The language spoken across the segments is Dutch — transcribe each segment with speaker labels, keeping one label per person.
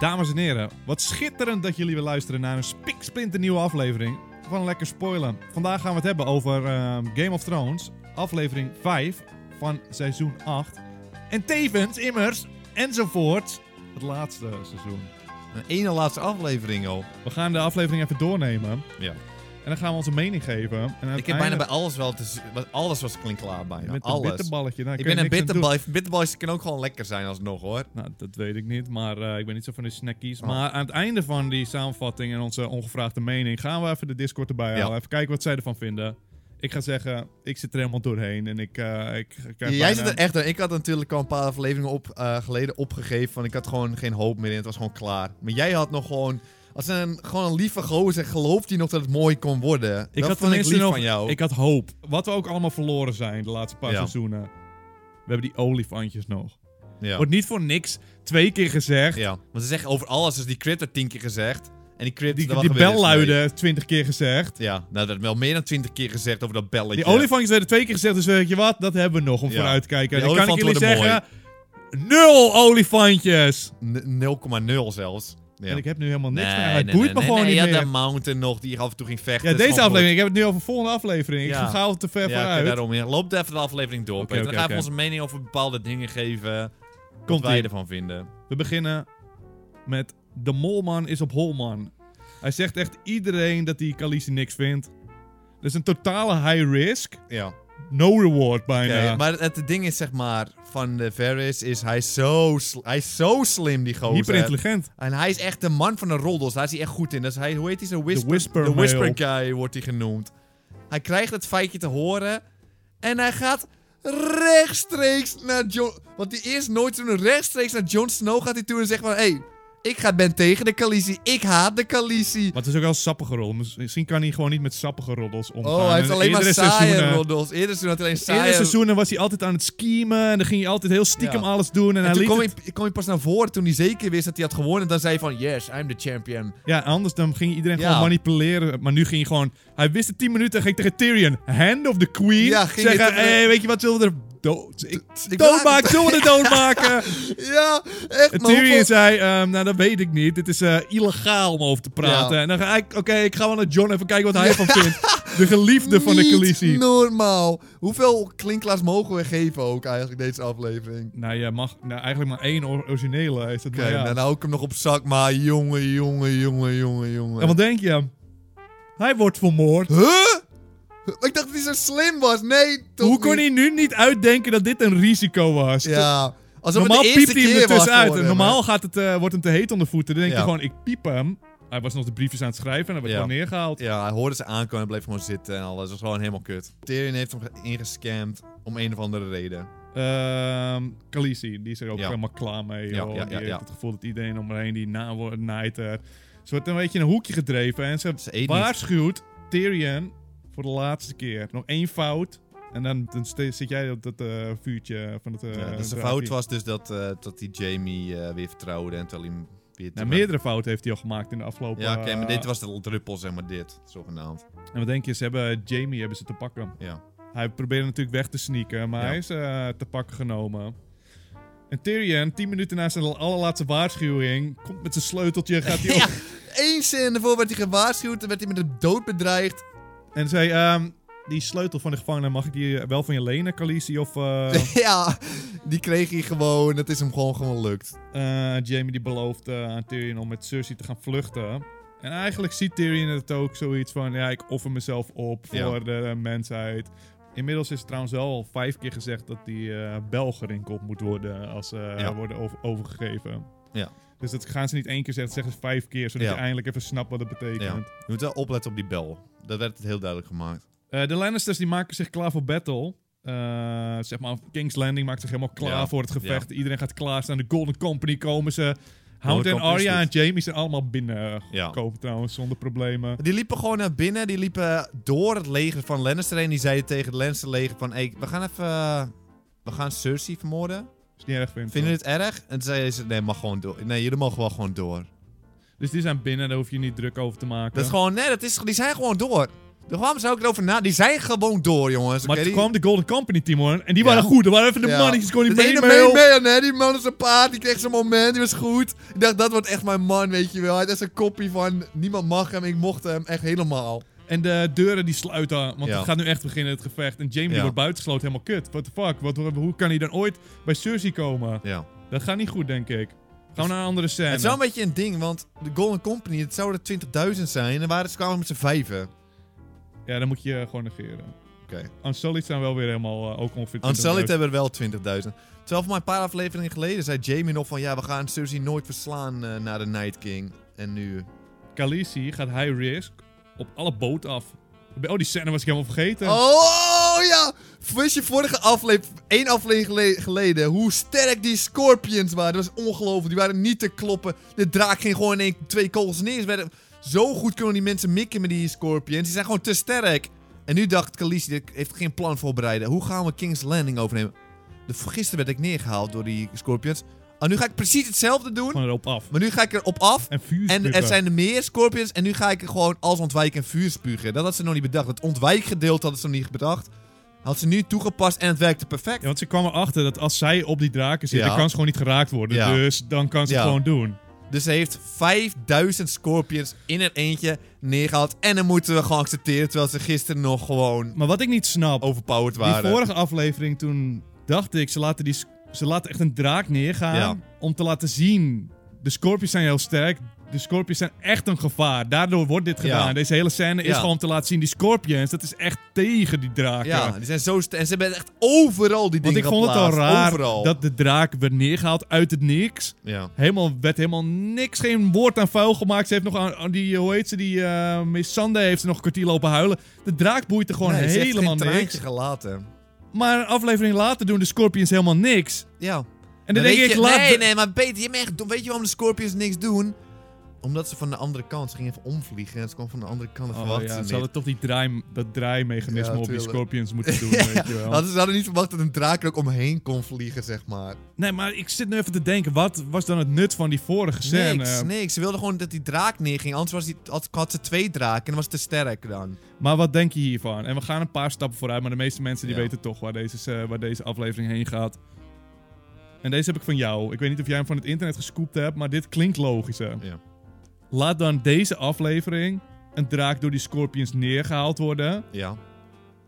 Speaker 1: Dames en heren, wat schitterend dat jullie weer luisteren naar een spiksplinternieuwe aflevering van Lekker Spoilen. Vandaag gaan we het hebben over ehm, Game of Thrones, aflevering 5 van seizoen 8. En tevens, immers, enzovoort, het laatste seizoen.
Speaker 2: Een ene laatste aflevering al.
Speaker 1: We gaan de aflevering even doornemen
Speaker 2: Ja.
Speaker 1: en dan gaan we onze mening geven. En
Speaker 2: Ik heb bijna bij
Speaker 1: uiteindelijk
Speaker 2: alles wel te z- wat- Alles was klinkklaar bijna.
Speaker 1: met een
Speaker 2: alles.
Speaker 1: bitterballetje. Nou,
Speaker 2: Ik
Speaker 1: kun je
Speaker 2: ben een
Speaker 1: niks aan doen.
Speaker 2: bitterbal. Bitterballetjes kunnen ook gewoon lekker zijn alsnog hoor.
Speaker 1: Nou, dat weet ik niet, maar eh, ik ben niet zo van de snackies.
Speaker 2: Oh.
Speaker 1: Maar aan het einde van die samenvatting en onze ongevraagde mening gaan we even de Discord erbij
Speaker 2: Ja.
Speaker 1: halen. Even kijken wat zij ervan vinden. Ik ga zeggen, ik zit er helemaal doorheen en ik, eh, ik, ik krijg
Speaker 2: Jij
Speaker 1: bijna-
Speaker 2: zit er echt door. Ik had natuurlijk al een paar afleveringen op, eh, geleden opgegeven. Van ik had gewoon geen hoop meer in. Het was gewoon klaar. Maar jij had nog gewoon. Als een, gewoon een lieve gozer gelooft hij nog dat het mooi kon worden.
Speaker 1: Ik
Speaker 2: dat
Speaker 1: had
Speaker 2: vond ik
Speaker 1: tenminste
Speaker 2: lief
Speaker 1: nog-
Speaker 2: van jou.
Speaker 1: Ik had hoop. Wat we ook allemaal verloren zijn de laatste paar
Speaker 2: Ja.
Speaker 1: seizoenen. We hebben die olifantjes nog.
Speaker 2: ja.
Speaker 1: Wordt niet voor niks twee keer gezegd.
Speaker 2: ja. Want ze zeggen over alles. Dus die crit werd tien keer gezegd. En die crit.
Speaker 1: Die,
Speaker 2: daar
Speaker 1: die
Speaker 2: was er weer
Speaker 1: bel
Speaker 2: eens mee.
Speaker 1: luidde twintig keer gezegd.
Speaker 2: Ja, nou dat wel meer dan twintig keer gezegd over dat belletje.
Speaker 1: Die olifantjes werden twee keer gezegd, dus weet je wat? Dat hebben we nog om
Speaker 2: Ja.
Speaker 1: vooruit te kijken.
Speaker 2: Die
Speaker 1: Dan kan ik
Speaker 2: olifanten
Speaker 1: jullie zeggen, nul olifantjes!
Speaker 2: N- 0,0 zelfs. Ja.
Speaker 1: En ik heb nu helemaal niks
Speaker 2: Nee,
Speaker 1: meer. Het
Speaker 2: nee,
Speaker 1: boeit
Speaker 2: nee,
Speaker 1: me
Speaker 2: nee,
Speaker 1: gewoon niet
Speaker 2: nee, je had
Speaker 1: meer.
Speaker 2: de Mountain nog, die af en toe ging vechten.
Speaker 1: Ja,
Speaker 2: Dat is
Speaker 1: deze
Speaker 2: gewoon
Speaker 1: aflevering. Ik heb het nu over volgende aflevering.
Speaker 2: Ja.
Speaker 1: Ik ga al te ver
Speaker 2: goed. Ja, oké,
Speaker 1: vooruit.
Speaker 2: daarom. Ja, loop even de aflevering door,
Speaker 1: Oké,
Speaker 2: Peter.
Speaker 1: oké,
Speaker 2: Dan gaan we
Speaker 1: oké.
Speaker 2: onze mening over bepaalde dingen geven. wat
Speaker 1: Komt
Speaker 2: wij
Speaker 1: ie.
Speaker 2: ervan vinden.
Speaker 1: We beginnen met de molman is op holman. Hij zegt echt iedereen dat hij Khaleesi niks vindt. Dat is een totale high risk,
Speaker 2: Ja.
Speaker 1: no reward
Speaker 2: Oké,
Speaker 1: bijna.
Speaker 2: Maar het, het ding is, zeg maar, van de Varys is hij is zo, sl- hij is zo slim, die gozer.
Speaker 1: Hyper intelligent.
Speaker 2: En hij is echt de man van de roddels. Daar is hij echt goed in. Dus hij, hoe heet hij? Zo'n whisper,
Speaker 1: whisper
Speaker 2: de whisper
Speaker 1: male.
Speaker 2: guy wordt hij genoemd. Hij krijgt het feitje te horen. En hij gaat rechtstreeks naar Jon... Want hij eerst nooit toen rechtstreeks naar Jon Snow gaat hij toe en zegt van... Hé, hey, ik ga, ben tegen de Khaleesi. Ik haat de Khaleesi.
Speaker 1: Maar het is ook wel sappige roddel. Misschien kan hij gewoon niet met sappige roddels omgaan.
Speaker 2: Oh, hij heeft
Speaker 1: En
Speaker 2: alleen maar
Speaker 1: eerdere
Speaker 2: saaie
Speaker 1: seizoenen-
Speaker 2: roddels. Eerder seizoen had hij alleen saaie...
Speaker 1: Eerdere seizoenen was hij altijd aan het schemen. En dan ging hij altijd heel stiekem
Speaker 2: eh, Ja.
Speaker 1: alles doen. En,
Speaker 2: En
Speaker 1: hij
Speaker 2: toen
Speaker 1: liet
Speaker 2: kwam
Speaker 1: het-
Speaker 2: hij, kwam hij pas naar voren toen hij zeker wist dat hij had gewonnen. Dan zei hij van, yes, I'm the champion.
Speaker 1: Ja, anders dan ging iedereen
Speaker 2: Ja.
Speaker 1: gewoon manipuleren. Maar nu ging hij gewoon... Hij wist het 10 minuten en ging tegen Tyrion. Hand of the Queen.
Speaker 2: Ja, ging
Speaker 1: zeggen,
Speaker 2: hij tegen-
Speaker 1: hey, weet je wat, zullen we er dood... Ik,
Speaker 2: ik
Speaker 1: doodmaken,
Speaker 2: maak-
Speaker 1: zullen we er doodmaken?
Speaker 2: Ja, echt.
Speaker 1: en
Speaker 2: maar hoeveel-
Speaker 1: Tyrion zei, ehm, nou dat weet ik niet. Het is eh, illegaal om over te praten.
Speaker 2: Ja.
Speaker 1: En dan ga ik, oké, ik ga wel naar John even kijken wat hij ervan vindt. De geliefde van de
Speaker 2: Niet
Speaker 1: Khaleesi.
Speaker 2: normaal. Hoeveel klinklaars mogen we geven ook eigenlijk deze aflevering?
Speaker 1: Nou, je mag nou, eigenlijk maar één or- originele. Is dat
Speaker 2: Oké,
Speaker 1: maar, ja.
Speaker 2: nou, nou hou ik hem nog op zak, maar jongen, jongen, jongen, jongen, jongen.
Speaker 1: En wat denk je? Hij wordt vermoord.
Speaker 2: Huh? Ik dacht dat hij zo slim was. Nee, toch
Speaker 1: Hoe kon
Speaker 2: niet.
Speaker 1: hij nu niet uitdenken dat dit een risico was?
Speaker 2: Ja. Alsof
Speaker 1: Normaal
Speaker 2: het de eerste
Speaker 1: piept hij hem
Speaker 2: keer
Speaker 1: er
Speaker 2: was
Speaker 1: tussenuit.
Speaker 2: voor hem,
Speaker 1: Normaal
Speaker 2: hè.
Speaker 1: gaat het, eh, wordt hem te heet onder voeten. Dan denk je
Speaker 2: Ja.
Speaker 1: gewoon, ik piep hem. Hij was nog de briefjes aan het schrijven en hij werd
Speaker 2: Ja.
Speaker 1: gewoon neergehaald.
Speaker 2: Ja, hij hoorde ze aankomen en bleef gewoon zitten en alles. Dat was gewoon helemaal kut. Tyrion heeft hem ge- ingescamd om een of andere reden.
Speaker 1: Ehm Khaleesi, die is er ook
Speaker 2: Ja.
Speaker 1: helemaal klaar mee.
Speaker 2: Ja,
Speaker 1: joh.
Speaker 2: ja, ja,
Speaker 1: die heeft
Speaker 2: ja.
Speaker 1: het gevoel dat iedereen om haar heen die na wordt- naait. er. Ze wordt een beetje in een hoekje gedreven. En ze,
Speaker 2: Ze eet niet.
Speaker 1: waarschuwt Tyrion voor de laatste keer. Nog één fout. En dan, dan ste- zit jij op dat eh, vuurtje van het... eh,
Speaker 2: Ja, dus de
Speaker 1: draadje.
Speaker 2: fout was dus dat, eh, dat hij Jamie weer vertrouwde en terwijl hij hem weer...
Speaker 1: Nou, meerdere fouten heeft hij al gemaakt in de afgelopen...
Speaker 2: Ja, oké, maar
Speaker 1: eh,
Speaker 2: dit was de druppel, zeg maar, dit. Zogenaamd.
Speaker 1: En wat denk je, ze hebben Jamie hebben ze te pakken.
Speaker 2: Ja.
Speaker 1: Hij probeerde natuurlijk weg te sneaken, maar
Speaker 2: Ja.
Speaker 1: hij is eh, te pakken genomen. En Tyrion, 10 minuten na zijn allerlaatste waarschuwing, komt met zijn sleuteltje, gaat hij op
Speaker 2: Ja, één scène ervoor werd hij gewaarschuwd en werd hij met de dood bedreigd.
Speaker 1: en zei, ehm, die sleutel van de gevangene, mag ik die wel van je lenen, Khaleesi? Of eh,
Speaker 2: ja, die kreeg hij gewoon. Het is hem gewoon gelukt.
Speaker 1: eh, Jamie die belooft eh, aan Tyrion om met Cersei te gaan vluchten. En eigenlijk ziet Tyrion het ook zoiets van, ja, ik offer mezelf op voor
Speaker 2: Ja.
Speaker 1: de mensheid. Inmiddels is trouwens wel al vijf keer gezegd dat die eh, bel gerinkeld moet worden als ze eh,
Speaker 2: Ja.
Speaker 1: worden over- overgegeven.
Speaker 2: Ja.
Speaker 1: Dus dat gaan ze niet één keer zeggen, dat zeggen ze vijf keer, zodat
Speaker 2: Ja.
Speaker 1: je eindelijk even snapt wat het betekent.
Speaker 2: Ja. Je moet wel opletten op die bel. Dat werd heel duidelijk gemaakt.
Speaker 1: Eh, de Lannisters die maken zich klaar voor battle. Eh, zeg maar, King's Landing maakt zich helemaal klaar
Speaker 2: Ja,
Speaker 1: voor het gevecht. Iedereen gaat klaarstaan. De Golden Company komen ze. Hound
Speaker 2: Golden
Speaker 1: en
Speaker 2: Company is
Speaker 1: Arya en
Speaker 2: goed.
Speaker 1: Jamie zijn allemaal binnengekomen
Speaker 2: Ja.
Speaker 1: trouwens, zonder problemen.
Speaker 2: Die liepen gewoon naar binnen. Die liepen door het leger van Lannister heen. Die zeiden tegen het Lannister leger van... Hey, we gaan even... eh, We gaan Cersei vermoorden.
Speaker 1: Is niet erg vindt.
Speaker 2: Vinden jullie het erg? En toen zeiden ze... Nee, mag gewoon door. Nee, jullie mogen wel gewoon door.
Speaker 1: Dus die zijn binnen, daar hoef je niet druk over te maken.
Speaker 2: Dat is gewoon... Nee, dat is, die zijn gewoon door. De- Waarom zou ik erover na? Die zijn gewoon door, jongens.
Speaker 1: Maar
Speaker 2: oké?
Speaker 1: toen
Speaker 2: die...
Speaker 1: kwam de Golden Company, Timon. En die
Speaker 2: Ja.
Speaker 1: waren goed. Dat waren even de
Speaker 2: Ja.
Speaker 1: mannetjes. Kon niet
Speaker 2: De ene
Speaker 1: mee,
Speaker 2: mee,
Speaker 1: mee,
Speaker 2: mee, hè? Die man is een paard. Die kreeg zijn moment. Die was goed. Ik dacht, dat wordt echt mijn man, weet je wel. Hij had echt een kopie van niemand mag hem. Ik mocht hem echt helemaal.
Speaker 1: En de deuren die sluiten. Want
Speaker 2: Ja.
Speaker 1: het gaat nu echt beginnen, het gevecht. En Jamie
Speaker 2: Ja.
Speaker 1: wordt buitengesloten. Helemaal kut. What the fuck? Wat, hoe kan hij dan ooit bij Cersei komen?
Speaker 2: Ja.
Speaker 1: Dat gaat niet goed, denk ik. Gaan we naar een andere scène.
Speaker 2: Het is wel een beetje een ding, want de Golden Company, het zouden 20.000 zijn. En waren ze kwamen met z'n vijven.
Speaker 1: Ja, dan moet je eh, gewoon negeren.
Speaker 2: Oké.
Speaker 1: Unsullied zijn wel weer helemaal eh, ook ongeveer...
Speaker 2: Unsullied
Speaker 1: 20.000.
Speaker 2: hebben er wel 20.000. Terwijl voor maar een paar afleveringen geleden zei Jamie nog van... Ja, we gaan Cersei nooit verslaan eh, na de Night King. En nu...
Speaker 1: Khaleesi gaat high risk op alle boot af. Oh, die scène was ik helemaal vergeten.
Speaker 2: Oh ja! Wist je vorige aflevering, één aflevering gele- geleden, hoe sterk die Scorpions waren? Dat was ongelooflijk. Die waren niet te kloppen. De draak ging gewoon in één, twee kogels neer. Ze werden- Zo goed kunnen die mensen mikken met die Scorpions. Die zijn gewoon te sterk. En nu dacht Khaleesi, dit heeft geen plan voorbereiden. Hoe gaan we King's Landing overnemen? De, gisteren werd ik neergehaald door die Scorpions. En nu ga ik precies hetzelfde doen.
Speaker 1: Gewoon erop af.
Speaker 2: Maar nu ga ik erop af.
Speaker 1: En vuur
Speaker 2: En er
Speaker 1: spugen.
Speaker 2: zijn er meer scorpions. En nu ga ik er gewoon als ontwijk en vuur spugen. Dat had ze nog niet bedacht. Het ontwijkgedeelte hadden ze nog niet bedacht. Had ze nu toegepast en het werkte perfect.
Speaker 1: Ja, want ze kwam erachter dat als zij op die draken zit,
Speaker 2: Ja.
Speaker 1: dan kan ze gewoon niet geraakt worden.
Speaker 2: Ja.
Speaker 1: Dus dan kan ze
Speaker 2: Ja.
Speaker 1: het gewoon doen.
Speaker 2: Dus ze heeft 5000 scorpions in haar eentje neergehaald. En dan moeten we gewoon accepteren. Terwijl ze gisteren nog gewoon
Speaker 1: Maar wat ik niet snap,
Speaker 2: Oh, overpowered
Speaker 1: die
Speaker 2: waren.
Speaker 1: vorige aflevering toen dacht ik, ze laten, die, s- ze laten echt een draak neergaan
Speaker 2: Ja.
Speaker 1: om te laten zien, de Scorpions zijn heel sterk. De Scorpions zijn echt een gevaar. Daardoor wordt dit gedaan.
Speaker 2: Ja.
Speaker 1: Deze hele scène is
Speaker 2: Ja.
Speaker 1: gewoon om te laten zien, die Scorpions, dat is echt tegen die draken.
Speaker 2: Ja, die zijn zo sterk. En ze hebben echt overal die
Speaker 1: Want
Speaker 2: dingen
Speaker 1: ik vond het al
Speaker 2: geplaatst.
Speaker 1: raar
Speaker 2: Overal.
Speaker 1: dat de draak werd neergehaald uit het niks.
Speaker 2: Ja.
Speaker 1: Helemaal, werd helemaal niks, geen woord aan vuil gemaakt. Ze heeft nog aan, aan die, hoe heet ze, die eh, Miss Sande heeft ze nog een kwartier lopen huilen. De draak boeit er gewoon
Speaker 2: Nee, ze heeft
Speaker 1: helemaal
Speaker 2: geen traantje
Speaker 1: niks.
Speaker 2: gelaten.
Speaker 1: Maar een aflevering later doen de Scorpions helemaal niks.
Speaker 2: Ja.
Speaker 1: En dan
Speaker 2: Maar
Speaker 1: denk
Speaker 2: weet
Speaker 1: ik,
Speaker 2: je-
Speaker 1: laat...
Speaker 2: Nee, nee, maar Peter, je bent echt dom. Weet je waarom de Scorpions niks doen? Omdat ze van de andere kant, ze gingen even omvliegen en ze kwam van de andere kant en
Speaker 1: Oh
Speaker 2: verwachtten
Speaker 1: ja,
Speaker 2: ze
Speaker 1: ze hadden
Speaker 2: niet.
Speaker 1: toch die draai, dat draaimechanisme
Speaker 2: Ja,
Speaker 1: op die
Speaker 2: tuurlijk.
Speaker 1: Scorpions moeten doen, weet je wel.
Speaker 2: Hadden ze hadden niet verwacht dat een draak er ook omheen kon vliegen, zeg maar.
Speaker 1: Nee, maar ik zit nu even te denken, wat was dan het nut van die vorige scène?
Speaker 2: Niks, niks. Ze wilden gewoon dat die draak neerging, anders was die, had, had ze twee draken en was te sterk dan.
Speaker 1: Maar wat denk je hiervan? En we gaan een paar stappen vooruit, maar de meeste mensen die
Speaker 2: Ja.
Speaker 1: weten toch waar deze, eh, waar deze aflevering heen gaat. En deze heb ik van jou. Ik weet niet of jij hem van het internet gescoopt hebt, maar dit klinkt logischer.
Speaker 2: Ja.
Speaker 1: Laat dan deze aflevering een draak door die Scorpions neergehaald worden.
Speaker 2: Ja,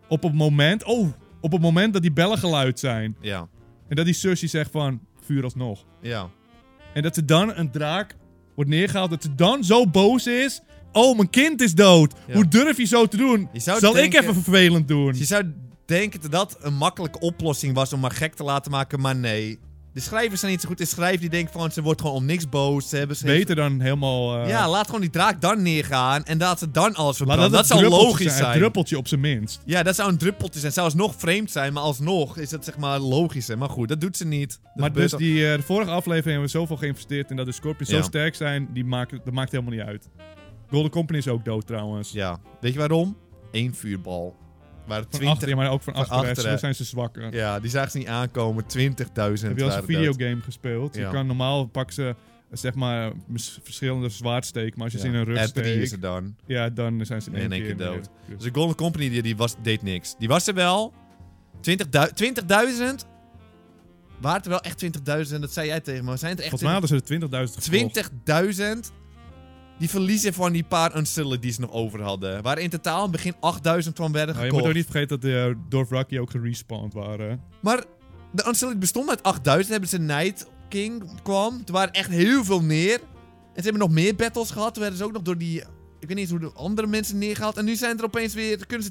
Speaker 1: Op het moment, oh, op het moment dat die bellen geluid zijn.
Speaker 2: ja,
Speaker 1: En dat die Cersei zegt van, vuur alsnog.
Speaker 2: ja.
Speaker 1: En dat ze dan een draak wordt neergehaald, dat ze dan zo boos is. Oh, mijn kind is dood.
Speaker 2: Ja.
Speaker 1: Hoe durf je zo te doen?
Speaker 2: Je zou
Speaker 1: Zal
Speaker 2: denken-
Speaker 1: ik even vervelend doen?
Speaker 2: Dus je zou denken dat dat een makkelijke oplossing was om haar gek te laten maken, maar nee. De schrijvers zijn niet zo goed in schrijven, die denken van ze wordt gewoon om niks boos. Ze hebben ze heeft-
Speaker 1: Beter dan helemaal. eh,
Speaker 2: Ja, laat gewoon die draak dan neergaan en laat ze dan alles
Speaker 1: laat
Speaker 2: verbranden. Dat,
Speaker 1: het
Speaker 2: zou
Speaker 1: druppeltje
Speaker 2: logisch
Speaker 1: Een
Speaker 2: zijn.
Speaker 1: druppeltje op zijn minst.
Speaker 2: Ja, dat zou een druppeltje zijn. Zou alsnog vreemd zijn, maar alsnog is dat zeg maar logisch. Hè? Maar goed, dat doet ze niet. Dat
Speaker 1: maar
Speaker 2: gebeurt
Speaker 1: dus
Speaker 2: al-
Speaker 1: die eh, de vorige aflevering hebben we zoveel geïnvesteerd in dat de Scorpions
Speaker 2: Ja.
Speaker 1: zo sterk zijn, die maken, dat maakt helemaal niet uit. Golden Company is ook dood trouwens.
Speaker 2: Ja, weet je waarom? Eén vuurbal. Waar
Speaker 1: Van achter,
Speaker 2: 20...
Speaker 1: ja, maar ook van
Speaker 2: van
Speaker 1: achteren.
Speaker 2: achteren.
Speaker 1: Zo zijn ze zwakker.
Speaker 2: Ja, die zagen ze niet aankomen. 20.000
Speaker 1: Heb je wel eens een
Speaker 2: waren dood.
Speaker 1: videogame gespeeld?
Speaker 2: Ja.
Speaker 1: Je kan normaal pakken ze eh, zeg maar mis- verschillende zwaardsteken, maar als je
Speaker 2: Ja.
Speaker 1: ze in een rug
Speaker 2: En drie is
Speaker 1: steekt,
Speaker 2: het dan.
Speaker 1: ja, dan zijn ze in
Speaker 2: En
Speaker 1: één,
Speaker 2: in één keer
Speaker 1: meer.
Speaker 2: dood.
Speaker 1: Dus-
Speaker 2: Dus de Golden Company die, die was, deed niks. Die was er wel. 20.000 20.000? Waren er wel echt 20.000? Dat zei jij tegen me. Zijn het echt
Speaker 1: Volgens mij hadden ze er 20.000 gekocht.
Speaker 2: 20.000 die verliezen van die paar unsullen die ze nog over hadden. Waar in totaal in het begin 8.000
Speaker 1: Nou,
Speaker 2: van werden
Speaker 1: je
Speaker 2: gekocht.
Speaker 1: moet ook niet vergeten dat de eh, Dorf Rocky ook gerespawned waren.
Speaker 2: Maar de unsullen bestond uit 8.000. Hebben ze Night King kwam. Er waren echt heel veel neer. En ze hebben nog meer battles gehad. Toen werden ze ook nog door die... Ik weet niet eens hoe de andere mensen neergehaald. En nu zijn er opeens weer... Kunnen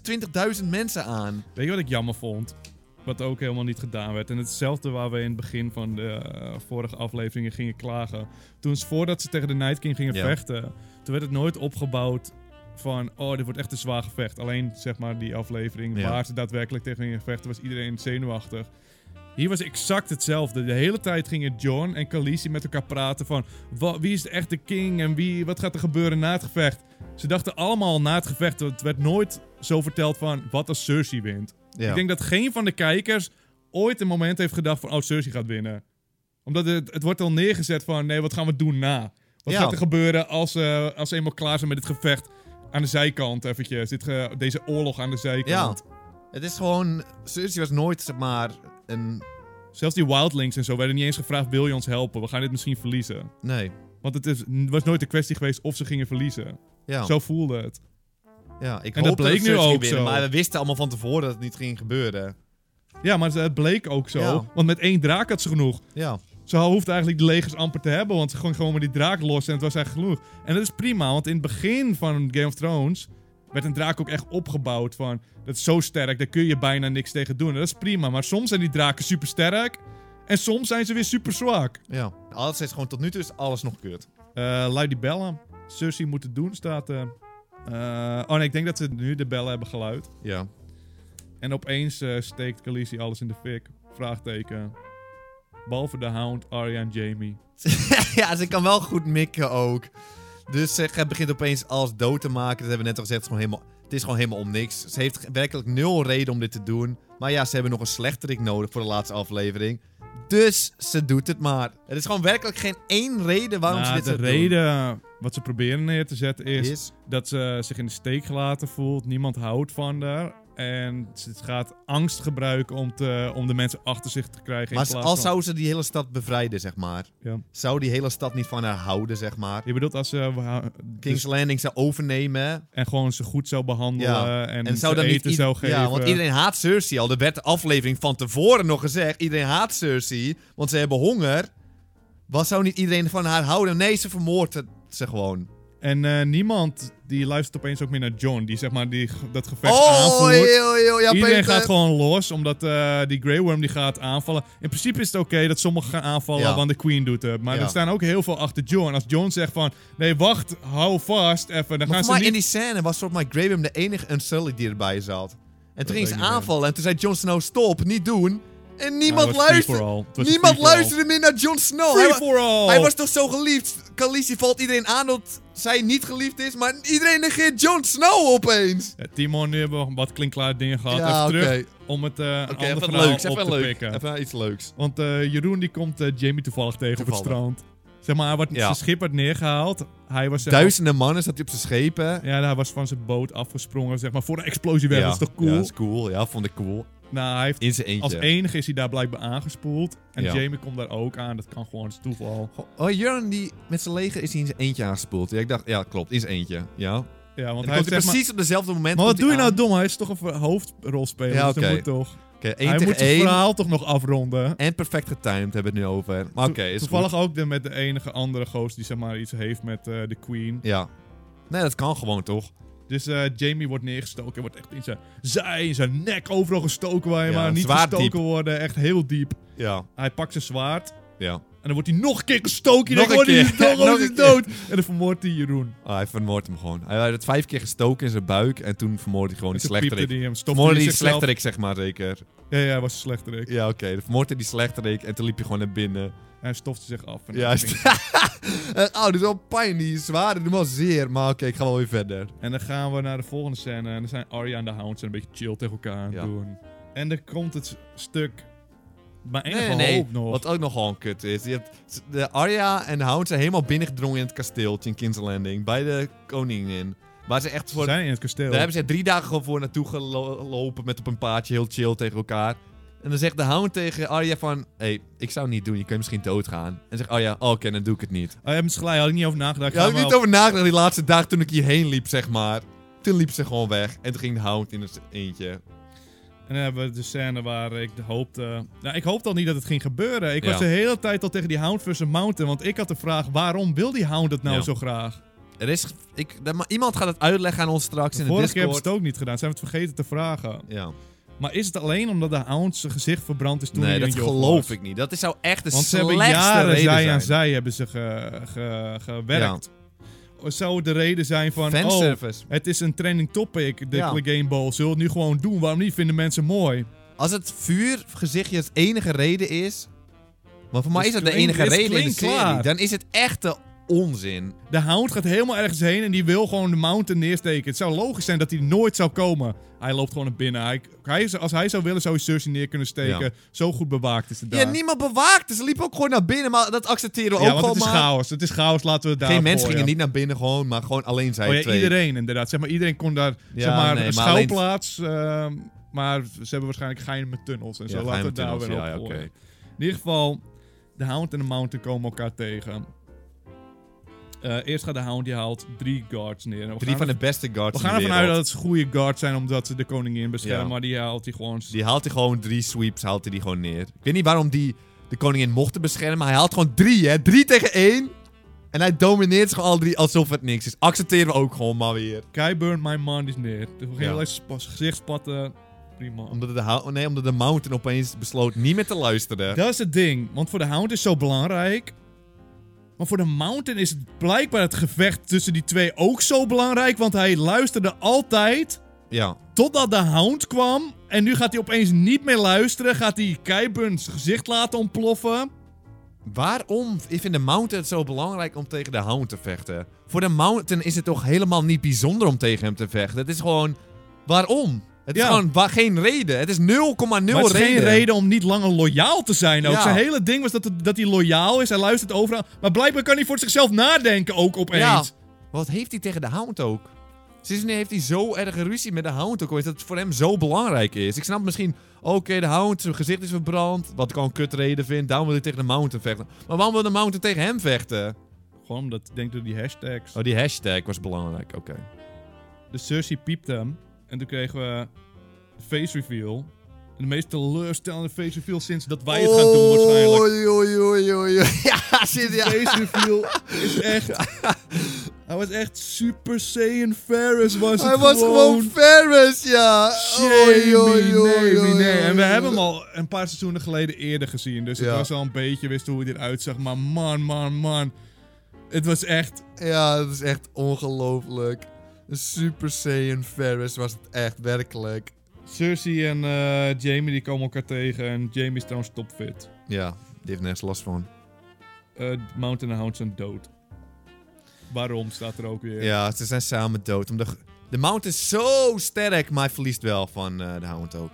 Speaker 2: ze 20.000 mensen aan.
Speaker 1: Weet je wat ik jammer vond? Wat ook helemaal niet gedaan werd. En hetzelfde waar we in het begin van de eh, vorige afleveringen gingen klagen. Toen ze, voordat ze tegen de Night King gingen
Speaker 2: Ja.
Speaker 1: vechten, toen werd het nooit opgebouwd van, oh, dit wordt echt een zwaar gevecht. Alleen, zeg maar, die aflevering
Speaker 2: Ja.
Speaker 1: waar ze daadwerkelijk tegen gingen vechten, was iedereen zenuwachtig. Hier was exact hetzelfde. De hele tijd gingen John en Khaleesi met elkaar praten van, wa- wie is de echte king en wie, wat gaat er gebeuren na het gevecht? Ze dachten allemaal na het gevecht, het werd nooit zo verteld van, wat als Cersei wint?
Speaker 2: Ja.
Speaker 1: Ik denk dat geen van de kijkers ooit een moment heeft gedacht van... Oh, Cersei gaat winnen. Omdat het, het wordt al neergezet van... Nee, wat gaan we doen na? Wat
Speaker 2: Ja.
Speaker 1: gaat er gebeuren als, eh, als ze eenmaal klaar zijn met het gevecht? aan de zijkant eventjes. Dit, ge- deze oorlog aan de
Speaker 2: Ja.
Speaker 1: zijkant.
Speaker 2: Het is gewoon... Cersei was nooit, zeg maar, een...
Speaker 1: Zelfs die wildlings en zo werden niet eens gevraagd, wil je ons helpen? We gaan dit misschien verliezen.
Speaker 2: Nee.
Speaker 1: Want het is, was nooit de kwestie geweest of ze gingen verliezen.
Speaker 2: Ja.
Speaker 1: Zo voelde het.
Speaker 2: ja. Ik
Speaker 1: En dat
Speaker 2: hoopte
Speaker 1: bleek nu
Speaker 2: Cersei ging
Speaker 1: ook
Speaker 2: winnen,
Speaker 1: zo.
Speaker 2: Maar we wisten allemaal van tevoren dat het niet ging gebeuren.
Speaker 1: Ja, maar het bleek ook zo.
Speaker 2: Ja.
Speaker 1: Want met één draak had ze genoeg.
Speaker 2: Ja.
Speaker 1: Ze hoefde eigenlijk de legers amper te hebben, want ze ging gewoon met die draak los en het was eigenlijk genoeg. En dat is prima, want in het begin van Game of Thrones werd een draak ook echt opgebouwd van... Dat is zo sterk, daar kun je bijna niks tegen doen. En dat is prima, maar soms zijn die draken super sterk en soms zijn ze weer super zwak.
Speaker 2: Ja. Alles is gewoon tot nu toe is alles nog kut.
Speaker 1: Eh lui die bellen. Cersei moet het doen, staat... eh Eh, oh nee, ik denk dat ze nu de bellen hebben geluid.
Speaker 2: Ja.
Speaker 1: En opeens eh, steekt Khaleesi alles in de fik. Vraagteken. Behalve de Hound, Arya en Jamie.
Speaker 2: ja, ze kan wel goed mikken ook. Dus ze gaat- begint opeens alles dood te maken. Dat hebben we net al gezegd. Het is gewoon helemaal, het is gewoon helemaal om niks. Ze heeft werkelijk nul reden om dit te doen. Maar ja, ze hebben nog een slechterik nodig voor de laatste aflevering. Dus ze doet het maar. Er is gewoon werkelijk geen één reden waarom ze
Speaker 1: Nou,
Speaker 2: dit
Speaker 1: de
Speaker 2: zou
Speaker 1: reden wat ze proberen neer te zetten
Speaker 2: doen.
Speaker 1: is,
Speaker 2: Is-
Speaker 1: dat ze zich in de steek gelaten voelt. Niemand houdt van haar. En ze gaat angst gebruiken om, te, om de mensen achter zich te krijgen.
Speaker 2: Maar
Speaker 1: in plaats
Speaker 2: als
Speaker 1: van-
Speaker 2: zou ze die hele stad bevrijden, zeg maar.
Speaker 1: Ja. Dus-
Speaker 2: Zou die hele stad niet van haar houden, zeg maar.
Speaker 1: Je bedoelt als ze... wa-
Speaker 2: King's
Speaker 1: dus-
Speaker 2: Landing zou overnemen.
Speaker 1: en gewoon ze goed zou behandelen.
Speaker 2: Ja,
Speaker 1: En,
Speaker 2: En zou
Speaker 1: ze
Speaker 2: dan niet
Speaker 1: eten
Speaker 2: ied-
Speaker 1: zou geven.
Speaker 2: Ja, want iedereen haat Cersei al. Er werd de aflevering van tevoren nog gezegd. Iedereen haat Cersei, want ze hebben honger. Wat zou niet iedereen van haar houden? Nee, ze vermoordt het- ze gewoon.
Speaker 1: En eh, niemand die luistert opeens ook meer naar John. Die zeg maar die, ge- dat gevecht
Speaker 2: oh,
Speaker 1: aanvoert.
Speaker 2: joh, joh, ja,
Speaker 1: Iedereen
Speaker 2: Peter.
Speaker 1: gaat gewoon los, omdat eh, die Grey Worm die gaat aanvallen. In principe is het oké dat sommigen gaan aanvallen,
Speaker 2: Ja.
Speaker 1: want de Queen doet het. Maar
Speaker 2: Ja.
Speaker 1: er staan ook heel veel achter John. Als John zegt van, nee wacht, hou vast even, dan
Speaker 2: Maar
Speaker 1: gaan
Speaker 2: voor
Speaker 1: ze
Speaker 2: mij
Speaker 1: niet...
Speaker 2: in die scène was soort maar Graham de enige Unsullied die erbij zat. En toen
Speaker 1: weet
Speaker 2: ging
Speaker 1: ik
Speaker 2: ze
Speaker 1: niet meer.
Speaker 2: aanvallen en toen zei Jon Snow stop, niet doen. En
Speaker 1: Ah, het
Speaker 2: niemand
Speaker 1: was free
Speaker 2: luisterde.
Speaker 1: for all. Het was een
Speaker 2: Niemand
Speaker 1: free for all.
Speaker 2: luisterde meer naar Jon Snow.
Speaker 1: Free
Speaker 2: Hij wa-
Speaker 1: for all!
Speaker 2: Hij was toch zo geliefd? Khaleesi valt iedereen aan dat zij niet geliefd is, maar iedereen negeert Jon Snow opeens.
Speaker 1: Ja, Timon, Eh, nu hebben we wat klinkklare dingen gehad.
Speaker 2: Ja,
Speaker 1: even terug
Speaker 2: oké.
Speaker 1: om het eh een
Speaker 2: Oké,
Speaker 1: ander
Speaker 2: even
Speaker 1: verhaal
Speaker 2: leuks,
Speaker 1: op
Speaker 2: even
Speaker 1: te
Speaker 2: leuk.
Speaker 1: pikken.
Speaker 2: Even iets leuks.
Speaker 1: Want eh, Jeroen die komt eh, Jamie toevallig tegen op het
Speaker 2: Toevallig.
Speaker 1: strand. Zeg maar, hij wordt
Speaker 2: Ja.
Speaker 1: zijn schip werd neergehaald. Hij was zeg maar-
Speaker 2: Duizenden mannen zat hij op zijn schepen.
Speaker 1: Ja, hij was van zijn boot afgesprongen, zeg maar, voor de explosie weg. Dat is toch cool?
Speaker 2: Ja, dat is cool. Ja, vond ik cool.
Speaker 1: Nou, hij heeft
Speaker 2: In zijn eentje.
Speaker 1: Als enige is hij daar blijkbaar aangespoeld. En
Speaker 2: Ja.
Speaker 1: Jamie komt daar ook aan. Dat kan gewoon, het is toeval.
Speaker 2: Oh, Jurgen die met zijn leger is hij in zijn eentje aangespoeld. Ja, ik dacht, ja, klopt, in zijn eentje. Ja.
Speaker 1: Ja, want
Speaker 2: En
Speaker 1: hij
Speaker 2: dan komt
Speaker 1: heeft
Speaker 2: hij
Speaker 1: zeg maar...
Speaker 2: precies op dezelfde moment.
Speaker 1: Maar wat
Speaker 2: komt hij
Speaker 1: doe je nou
Speaker 2: aan.
Speaker 1: dom? Hij is toch een ver- hoofdrolspeler.
Speaker 2: Ja,
Speaker 1: dus dan
Speaker 2: oké.
Speaker 1: moet toch...
Speaker 2: Oké, één
Speaker 1: Hij moet
Speaker 2: tegen
Speaker 1: zijn
Speaker 2: één.
Speaker 1: verhaal toch nog afronden.
Speaker 2: En perfect getimed hebben we het nu over. Maar oké, is
Speaker 1: Toevallig ook de, met de enige andere goos die zeg maar iets heeft met eh, de Queen.
Speaker 2: goed. Ja. Nee, dat kan gewoon toch?
Speaker 1: Dus eh, Jamie wordt neergestoken. Hij wordt echt in zijn zij, in zijn nek overal gestoken waar je
Speaker 2: Ja,
Speaker 1: maar niet
Speaker 2: zwaar
Speaker 1: gestoken
Speaker 2: diep.
Speaker 1: worden. Echt heel diep.
Speaker 2: Ja.
Speaker 1: Hij pakt zijn zwaard.
Speaker 2: Ja.
Speaker 1: En dan wordt hij nog een keer gestoken.
Speaker 2: Nog
Speaker 1: Dan wordt
Speaker 2: een
Speaker 1: hij
Speaker 2: keer.
Speaker 1: is dood,
Speaker 2: Nog
Speaker 1: hij is
Speaker 2: een keer.
Speaker 1: dood. En dan vermoordt hij Jeroen.
Speaker 2: Ah, hij vermoordt hem gewoon. Hij had het vijf keer gestoken in zijn buik en toen vermoordt hij gewoon
Speaker 1: En
Speaker 2: die
Speaker 1: toen piepte
Speaker 2: slechterik.
Speaker 1: hij hem. Stopte
Speaker 2: Vermoordde
Speaker 1: hij
Speaker 2: die
Speaker 1: zichzelf
Speaker 2: slechterik, zeg maar, zeker.
Speaker 1: Ja, ja, hij was een slechterik.
Speaker 2: Ja, oké. Dan vermoordde hij die slechterik en toen liep hij gewoon naar binnen.
Speaker 1: Hij stofte zich af. En,
Speaker 2: Juist. Eh, oh, dit is wel pijn. Die zware doet me wel zeer. Maar oké, ik ga wel weer verder.
Speaker 1: en dan gaan we naar de volgende scène. En dan zijn Arya en de Hound zijn een beetje chill tegen elkaar aan het
Speaker 2: Ja.
Speaker 1: doen. En dan komt het stuk... Maar enige hoop nog.
Speaker 2: Wat ook nogal een kut is. Je hebt, de Arya en de Hound zijn helemaal binnengedrongen in het kasteeltje in King's Landing. Bij de koningin. Waar ze echt
Speaker 1: Ze
Speaker 2: voor...
Speaker 1: zijn in het kasteel.
Speaker 2: Daar hebben ze drie dagen gewoon voor naartoe gelopen met op een paardje, heel chill tegen elkaar. En dan zegt de hound tegen Arya van, hé, hey, ik zou het niet doen, je kunt misschien doodgaan. En zegt Arya, oké, dan doe ik het niet.
Speaker 1: Oh, je hebt het gelijk, had ik niet over nagedacht.
Speaker 2: Ja,
Speaker 1: Gaan
Speaker 2: had ik
Speaker 1: we
Speaker 2: niet
Speaker 1: wel-
Speaker 2: over nagedacht die laatste dag toen ik hierheen liep, zeg maar. Toen liep ze gewoon weg en toen ging de hound in het eentje.
Speaker 1: En dan hebben we de scène waar ik de hoopte... Nou, ik hoopte al niet dat het ging gebeuren. Ik
Speaker 2: Ja.
Speaker 1: was de hele tijd al tegen die Hound versus Mountain. Want ik had de vraag, waarom wil die Hound het nou
Speaker 2: Ja.
Speaker 1: zo graag?
Speaker 2: Er is, ik, dat- maar iemand gaat het uitleggen aan ons straks in de
Speaker 1: Vorige keer hebben
Speaker 2: Discord.
Speaker 1: ze het ook niet gedaan. Ze hebben het vergeten te vragen.
Speaker 2: ja.
Speaker 1: Maar is het alleen omdat de Hound zijn gezicht verbrand is toen
Speaker 2: Nee,
Speaker 1: hij
Speaker 2: dat
Speaker 1: een joch
Speaker 2: geloof
Speaker 1: was?
Speaker 2: ik niet. Dat is zou echt de
Speaker 1: Want ze hebben
Speaker 2: slechtste
Speaker 1: jaren
Speaker 2: reden
Speaker 1: zij
Speaker 2: zijn.
Speaker 1: aan zij hebben ze ge- ge- gewerkt. Zou de reden zijn van, oh,
Speaker 2: Fanservice.
Speaker 1: het is een trending topic, de
Speaker 2: Ja.
Speaker 1: Game Ball. Zullen we het nu gewoon doen? Waarom niet? Vinden mensen mooi.
Speaker 2: Als het vuurgezichtje het enige reden is. Maar voor mij
Speaker 1: Dus
Speaker 2: is dat de
Speaker 1: klinkt-
Speaker 2: enige
Speaker 1: dit
Speaker 2: reden in de
Speaker 1: klinkt
Speaker 2: serie.
Speaker 1: klaar.
Speaker 2: Dan is het echt de onzin.
Speaker 1: De hound gaat helemaal ergens heen en die wil gewoon de mountain neersteken. Het zou logisch zijn dat hij nooit zou komen. Hij loopt gewoon naar binnen. Hij, hij is- als hij zou willen, zou hij Cersei neer kunnen steken.
Speaker 2: Ja.
Speaker 1: Zo goed bewaakt is het daar.
Speaker 2: Ja, niemand bewaakt. Ze liepen ook gewoon naar binnen, maar dat accepteren
Speaker 1: Ja,
Speaker 2: we ook
Speaker 1: want het
Speaker 2: gewoon
Speaker 1: is
Speaker 2: maar.
Speaker 1: chaos. Het is chaos, laten we het daar
Speaker 2: Geen mensen
Speaker 1: voor,
Speaker 2: gingen
Speaker 1: ja.
Speaker 2: niet naar binnen gewoon, maar gewoon alleen zij
Speaker 1: Oh ja,
Speaker 2: twee.
Speaker 1: iedereen inderdaad. Zeg maar, iedereen kon daar
Speaker 2: Ja,
Speaker 1: zeg maar,
Speaker 2: nee,
Speaker 1: een
Speaker 2: maar alleen-
Speaker 1: schouwplaats. ehm, maar ze hebben waarschijnlijk geheimen tunnels en
Speaker 2: Ja,
Speaker 1: zo. Laten we
Speaker 2: geheime
Speaker 1: het daar
Speaker 2: tunnels,
Speaker 1: weer
Speaker 2: ja,
Speaker 1: op
Speaker 2: ja,
Speaker 1: gooien.
Speaker 2: oké.
Speaker 1: In ieder geval, de Hound en de Mountain komen elkaar tegen. Eh, eerst gaat de Hound, die haalt drie guards neer. En we
Speaker 2: Drie
Speaker 1: gaan
Speaker 2: van de
Speaker 1: er-
Speaker 2: beste guards
Speaker 1: we gaan
Speaker 2: in de
Speaker 1: ervan uit
Speaker 2: wereld.
Speaker 1: dat het goede guards zijn omdat ze de koningin beschermen.
Speaker 2: Ja.
Speaker 1: Maar die haalt hij gewoon...
Speaker 2: Die haalt hij gewoon drie sweeps, haalt hij die gewoon neer. Ik weet niet waarom die de koningin mochten beschermen, maar hij haalt gewoon drie, hè. Drie tegen één. En hij domineert ze gewoon al drie alsof het niks is. Accepteren we ook gewoon maar weer.
Speaker 1: Kai burnt my money's neer. Dus we
Speaker 2: Ja.
Speaker 1: gaan ja. gezicht spatten. Prima.
Speaker 2: Omdat de, hou- oh nee, omdat de mountain opeens besloot niet meer te luisteren.
Speaker 1: Dat is het ding. Want voor de Hound is zo belangrijk. Maar voor de Mountain is het blijkbaar het gevecht tussen die twee ook zo belangrijk. Want hij luisterde altijd
Speaker 2: Ja.
Speaker 1: totdat de Hound kwam. En nu gaat hij opeens niet meer luisteren. Gaat hij Kyburn zijn gezicht laten ontploffen.
Speaker 2: Waarom vindt de Mountain het zo belangrijk om tegen de Hound te vechten? Voor de Mountain is het toch helemaal niet bijzonder om tegen hem te vechten? Het is gewoon... Waarom? Het is
Speaker 1: Ja.
Speaker 2: gewoon wa- geen reden. Het is 0,0
Speaker 1: Maar het is geen
Speaker 2: reden.
Speaker 1: reden om niet langer loyaal te zijn ook.
Speaker 2: Ja.
Speaker 1: Zijn hele ding was dat, het- dat hij loyaal is. Hij luistert overal. Maar blijkbaar kan hij voor zichzelf nadenken ook opeens.
Speaker 2: Wat heeft hij tegen de Hound ook? Sinds wanneer heeft hij zo erg ruzie met de Hound ook? ooit, Dat het voor hem zo belangrijk is. Ik snap misschien, oké, de Hound, zijn gezicht is verbrand. Wat ik al een kutreden vind. Daarom wil hij tegen de Mountain vechten. Maar waarom wil de Mountain tegen hem vechten?
Speaker 1: Gewoon omdat, denk door die hashtags.
Speaker 2: Oh, die hashtag was belangrijk. Oké.
Speaker 1: De Cersei piepte hem. En toen kregen we de face reveal. En de meest teleurstellende face reveal sinds dat wij het gaan doen
Speaker 2: Oh,
Speaker 1: waarschijnlijk.
Speaker 2: Oei, oei, oei, oei, oei. Ja, zit
Speaker 1: De
Speaker 2: ja.
Speaker 1: face reveal is echt... Hij was echt Super Saiyan Ferris was
Speaker 2: Hij
Speaker 1: het
Speaker 2: was gewoon Ferris, ja. Oei,
Speaker 1: Jamie,
Speaker 2: oei, oei,
Speaker 1: nee,
Speaker 2: oei,
Speaker 1: nee. En we
Speaker 2: oei.
Speaker 1: hebben hem al een paar seizoenen geleden eerder gezien. Dus
Speaker 2: Ja.
Speaker 1: het was al een beetje, wist hoe hij eruit zag. Maar man, man, man. Het was echt...
Speaker 2: Ja, dat is echt ongelooflijk. Een Super Saiyan Ferris was het echt, werkelijk.
Speaker 1: Cersei en eh, Jamie die komen elkaar tegen. En Jamie is trouwens topfit.
Speaker 2: Ja, die heeft nergens last van.
Speaker 1: Eh, Mountain en Hound zijn dood. Waarom staat er ook weer?
Speaker 2: Ja, ze zijn samen dood. Omdat de Mount is zo sterk, maar hij verliest wel van eh, de Hound ook.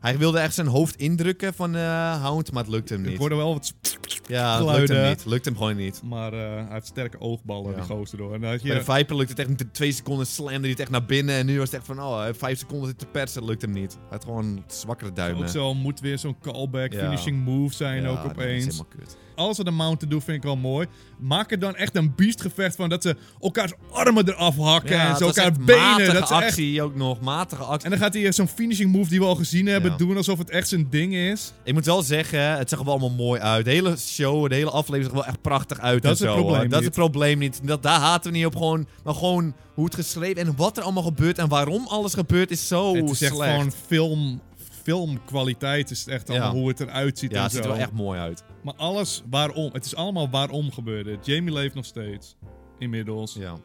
Speaker 2: Hij wilde echt zijn hoofd indrukken van de Hound, maar het lukt hem
Speaker 1: Ik
Speaker 2: niet.
Speaker 1: hoorde wel wat. sp-
Speaker 2: Ja, het lukt hem
Speaker 1: geluiden.
Speaker 2: niet. Lukt hem gewoon niet.
Speaker 1: Maar eh, hij heeft sterke oogballen,
Speaker 2: Ja.
Speaker 1: die gozer door. En dan had je-
Speaker 2: Bij de Viper lukt het echt niet. Twee seconden slamde hij het echt naar binnen. En nu was het echt van, oh, hij heeft vijf seconden zit te persen. Lukt hem niet. Hij had gewoon zwakkere duimen.
Speaker 1: ook zo moet weer zo'n callback,
Speaker 2: Ja.
Speaker 1: finishing move zijn
Speaker 2: Ja,
Speaker 1: ook
Speaker 2: dat is
Speaker 1: opeens.
Speaker 2: helemaal kut.
Speaker 1: Als ze de mountain doen, vind ik wel mooi. Maak er dan echt een biestgevecht van dat ze elkaars armen eraf hakken
Speaker 2: Ja,
Speaker 1: en
Speaker 2: het
Speaker 1: zo
Speaker 2: was
Speaker 1: elkaar
Speaker 2: echt
Speaker 1: benen.
Speaker 2: Matige
Speaker 1: Dat ze echt...
Speaker 2: actie ook nog. Matige actie.
Speaker 1: En dan gaat hij eh, zo'n finishing move die we al gezien hebben
Speaker 2: Ja.
Speaker 1: doen alsof het echt zijn ding is.
Speaker 2: Ik moet wel zeggen, het zag er wel allemaal mooi uit. De hele show, de hele aflevering zag er wel echt prachtig uit.
Speaker 1: Dat
Speaker 2: en
Speaker 1: is het
Speaker 2: zo,
Speaker 1: probleem
Speaker 2: hoor. Dat is
Speaker 1: niet.
Speaker 2: het probleem niet. Dat, daar haten we niet op. Gewoon, maar gewoon hoe het geschreven en wat er allemaal gebeurt en waarom alles gebeurt is zo
Speaker 1: het is echt
Speaker 2: slecht.
Speaker 1: gewoon film, filmkwaliteit. Is het echt allemaal
Speaker 2: Ja.
Speaker 1: hoe het eruit ziet
Speaker 2: ja,
Speaker 1: en
Speaker 2: het
Speaker 1: zo.
Speaker 2: ziet er wel echt mooi uit.
Speaker 1: Maar alles waarom. Het is allemaal waarom gebeurde. Jamie leeft nog steeds. Inmiddels.
Speaker 2: Ja.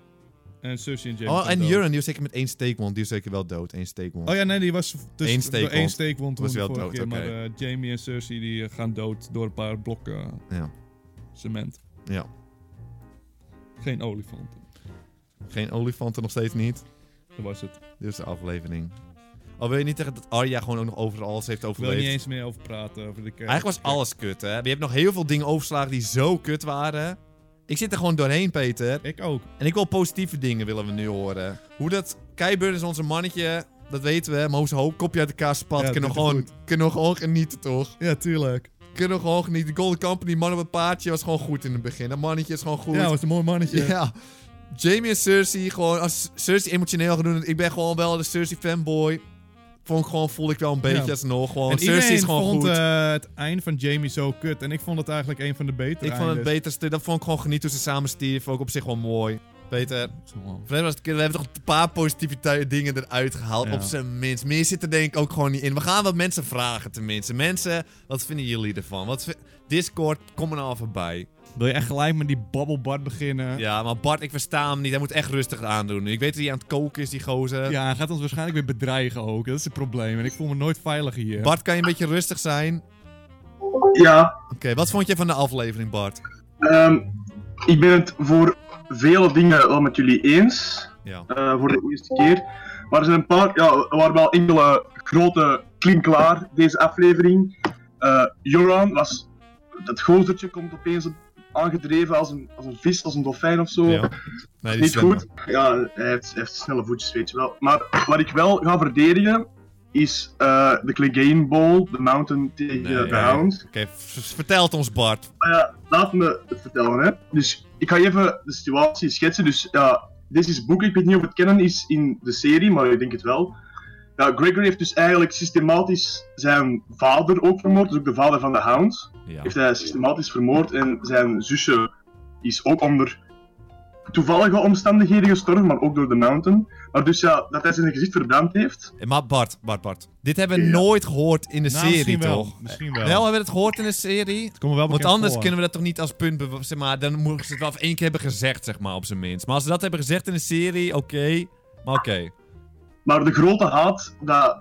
Speaker 1: En Susie en Jamie.
Speaker 2: Oh,
Speaker 1: zijn
Speaker 2: en
Speaker 1: dood.
Speaker 2: Juran, die was zeker met één steekwond. Die was zeker wel dood. Eén steekwond.
Speaker 1: Oh ja, nee, die was dus
Speaker 2: Eén
Speaker 1: Eén
Speaker 2: steekwond.
Speaker 1: Één steekwond
Speaker 2: Was
Speaker 1: was
Speaker 2: wel
Speaker 1: wel
Speaker 2: dood,
Speaker 1: keer,
Speaker 2: oké.
Speaker 1: Maar eh, Jamie en Cersei die eh, gaan dood door een paar blokken eh,
Speaker 2: ja.
Speaker 1: cement.
Speaker 2: ja.
Speaker 1: Geen olifanten.
Speaker 2: Geen olifanten nog steeds niet.
Speaker 1: Dat was het.
Speaker 2: Dit is de aflevering. Al wil je niet zeggen dat Arya gewoon ook nog overal alles heeft
Speaker 1: Ik wil er
Speaker 2: overleefd.
Speaker 1: niet eens meer over praten. Over de kerk.
Speaker 2: Eigenlijk was alles kut, hè. Je hebt nog heel veel dingen overslagen die zo kut waren. Ik zit er gewoon doorheen, Peter.
Speaker 1: Ik ook.
Speaker 2: En ik wil positieve dingen willen we nu horen. Hoe dat... Keiburn is onze mannetje, dat weten we. Maar hoe zijn hoofd kopje uit elkaar spat,
Speaker 1: Ja,
Speaker 2: kunnen, we
Speaker 1: doet het
Speaker 2: gewoon, kunnen we gewoon genieten, toch?
Speaker 1: Ja, tuurlijk.
Speaker 2: Kunnen we gewoon genieten. De Golden Company, man op het paardje, was gewoon goed in het begin. Dat mannetje is gewoon goed.
Speaker 1: Ja, was een mooi mannetje.
Speaker 2: Ja. Jamie en Cersei, gewoon als Cersei emotioneel gaan doen. Ik ben gewoon wel de Cersei fanboy. Vond ik gewoon, voel ik wel een beetje
Speaker 1: Ja.
Speaker 2: alsnog. Gewoon,
Speaker 1: En
Speaker 2: Oh, Cersei is
Speaker 1: iedereen
Speaker 2: gewoon
Speaker 1: vond
Speaker 2: goed.
Speaker 1: eh, het eind van Jamie zo kut. En ik vond het eigenlijk een van de betere
Speaker 2: ik vond het
Speaker 1: eindes.
Speaker 2: beter. stu- Dat vond ik gewoon genieten toen ze samen stierven. Ook op zich wel mooi. Peter,
Speaker 1: Zo.
Speaker 2: verder was het, we hebben toch een paar positieve tui- dingen eruit gehaald.
Speaker 1: Ja.
Speaker 2: Op zijn minst. Meer zit er denk ik ook gewoon niet in. We gaan wat mensen vragen tenminste. Mensen, wat vinden jullie ervan? Wat vi- Discord, kom er nou voorbij.
Speaker 1: Wil je echt gelijk met die babbelbad beginnen?
Speaker 2: Ja, maar Bart, ik versta hem niet. Hij moet echt rustig aandoen. Ik weet dat hij aan het koken is, die gozer.
Speaker 1: Ja, hij gaat ons waarschijnlijk weer bedreigen ook. Dat is het probleem. En ik voel me nooit veilig hier.
Speaker 2: Bart, kan je een beetje rustig zijn?
Speaker 3: Ja,
Speaker 2: Oké, wat vond je van de aflevering, Bart?
Speaker 3: ehm, Ik ben het voor vele dingen wel met jullie eens.
Speaker 1: Ja.
Speaker 3: eh, voor de eerste keer. Maar er zijn een paar, ja, er waren wel enkele grote klinklaar deze aflevering. Eh, Joran was, dat gozertje komt opeens op- aangedreven als een, als een vis, als een dolfijn of zo.
Speaker 1: Ja.
Speaker 2: Nee, die
Speaker 3: Niet
Speaker 2: zwemmen.
Speaker 3: goed. Ja, hij heeft, hij heeft snelle voetjes, weet je wel. Maar wat ik wel ga verdedigen, is eh, de Clegane Bowl, de Mountain eh, tegen
Speaker 2: Nee.
Speaker 3: de Hound.
Speaker 2: Oké, v- vertel het ons, Bart.
Speaker 3: Maar ja, laat me het vertellen. Hè. Dus ik ga even de situatie schetsen. Dus ja, dit is boek. Ik weet niet of het kennen is in de serie, maar ik denk het wel. Ja, Gregory heeft dus eigenlijk systematisch zijn vader ook vermoord. Dus ook de vader van de Hound.
Speaker 2: Ja.
Speaker 3: Heeft hij systematisch vermoord. En zijn zusje is ook onder toevallige omstandigheden gestorven, maar ook door de Mountain. Maar dus ja, dat hij zijn gezicht verbrand heeft.
Speaker 2: Eh, Maar Bart, Bart, Bart. Dit hebben we
Speaker 3: Ja.
Speaker 2: nooit gehoord in de
Speaker 1: Nou,
Speaker 2: serie,
Speaker 1: misschien wel.
Speaker 2: toch?
Speaker 1: Misschien wel.
Speaker 2: Wel hebben we het gehoord in de serie.
Speaker 1: Het komt me wel
Speaker 2: Want
Speaker 1: bekend
Speaker 2: anders
Speaker 1: voor.
Speaker 2: kunnen we dat toch niet als punt bewa- zeg maar, dan moeten ze het wel één keer hebben gezegd, zeg maar, op zijn minst. Maar als ze dat hebben gezegd in de serie, oké. Maar oké.
Speaker 3: Maar de grote haat dat eh,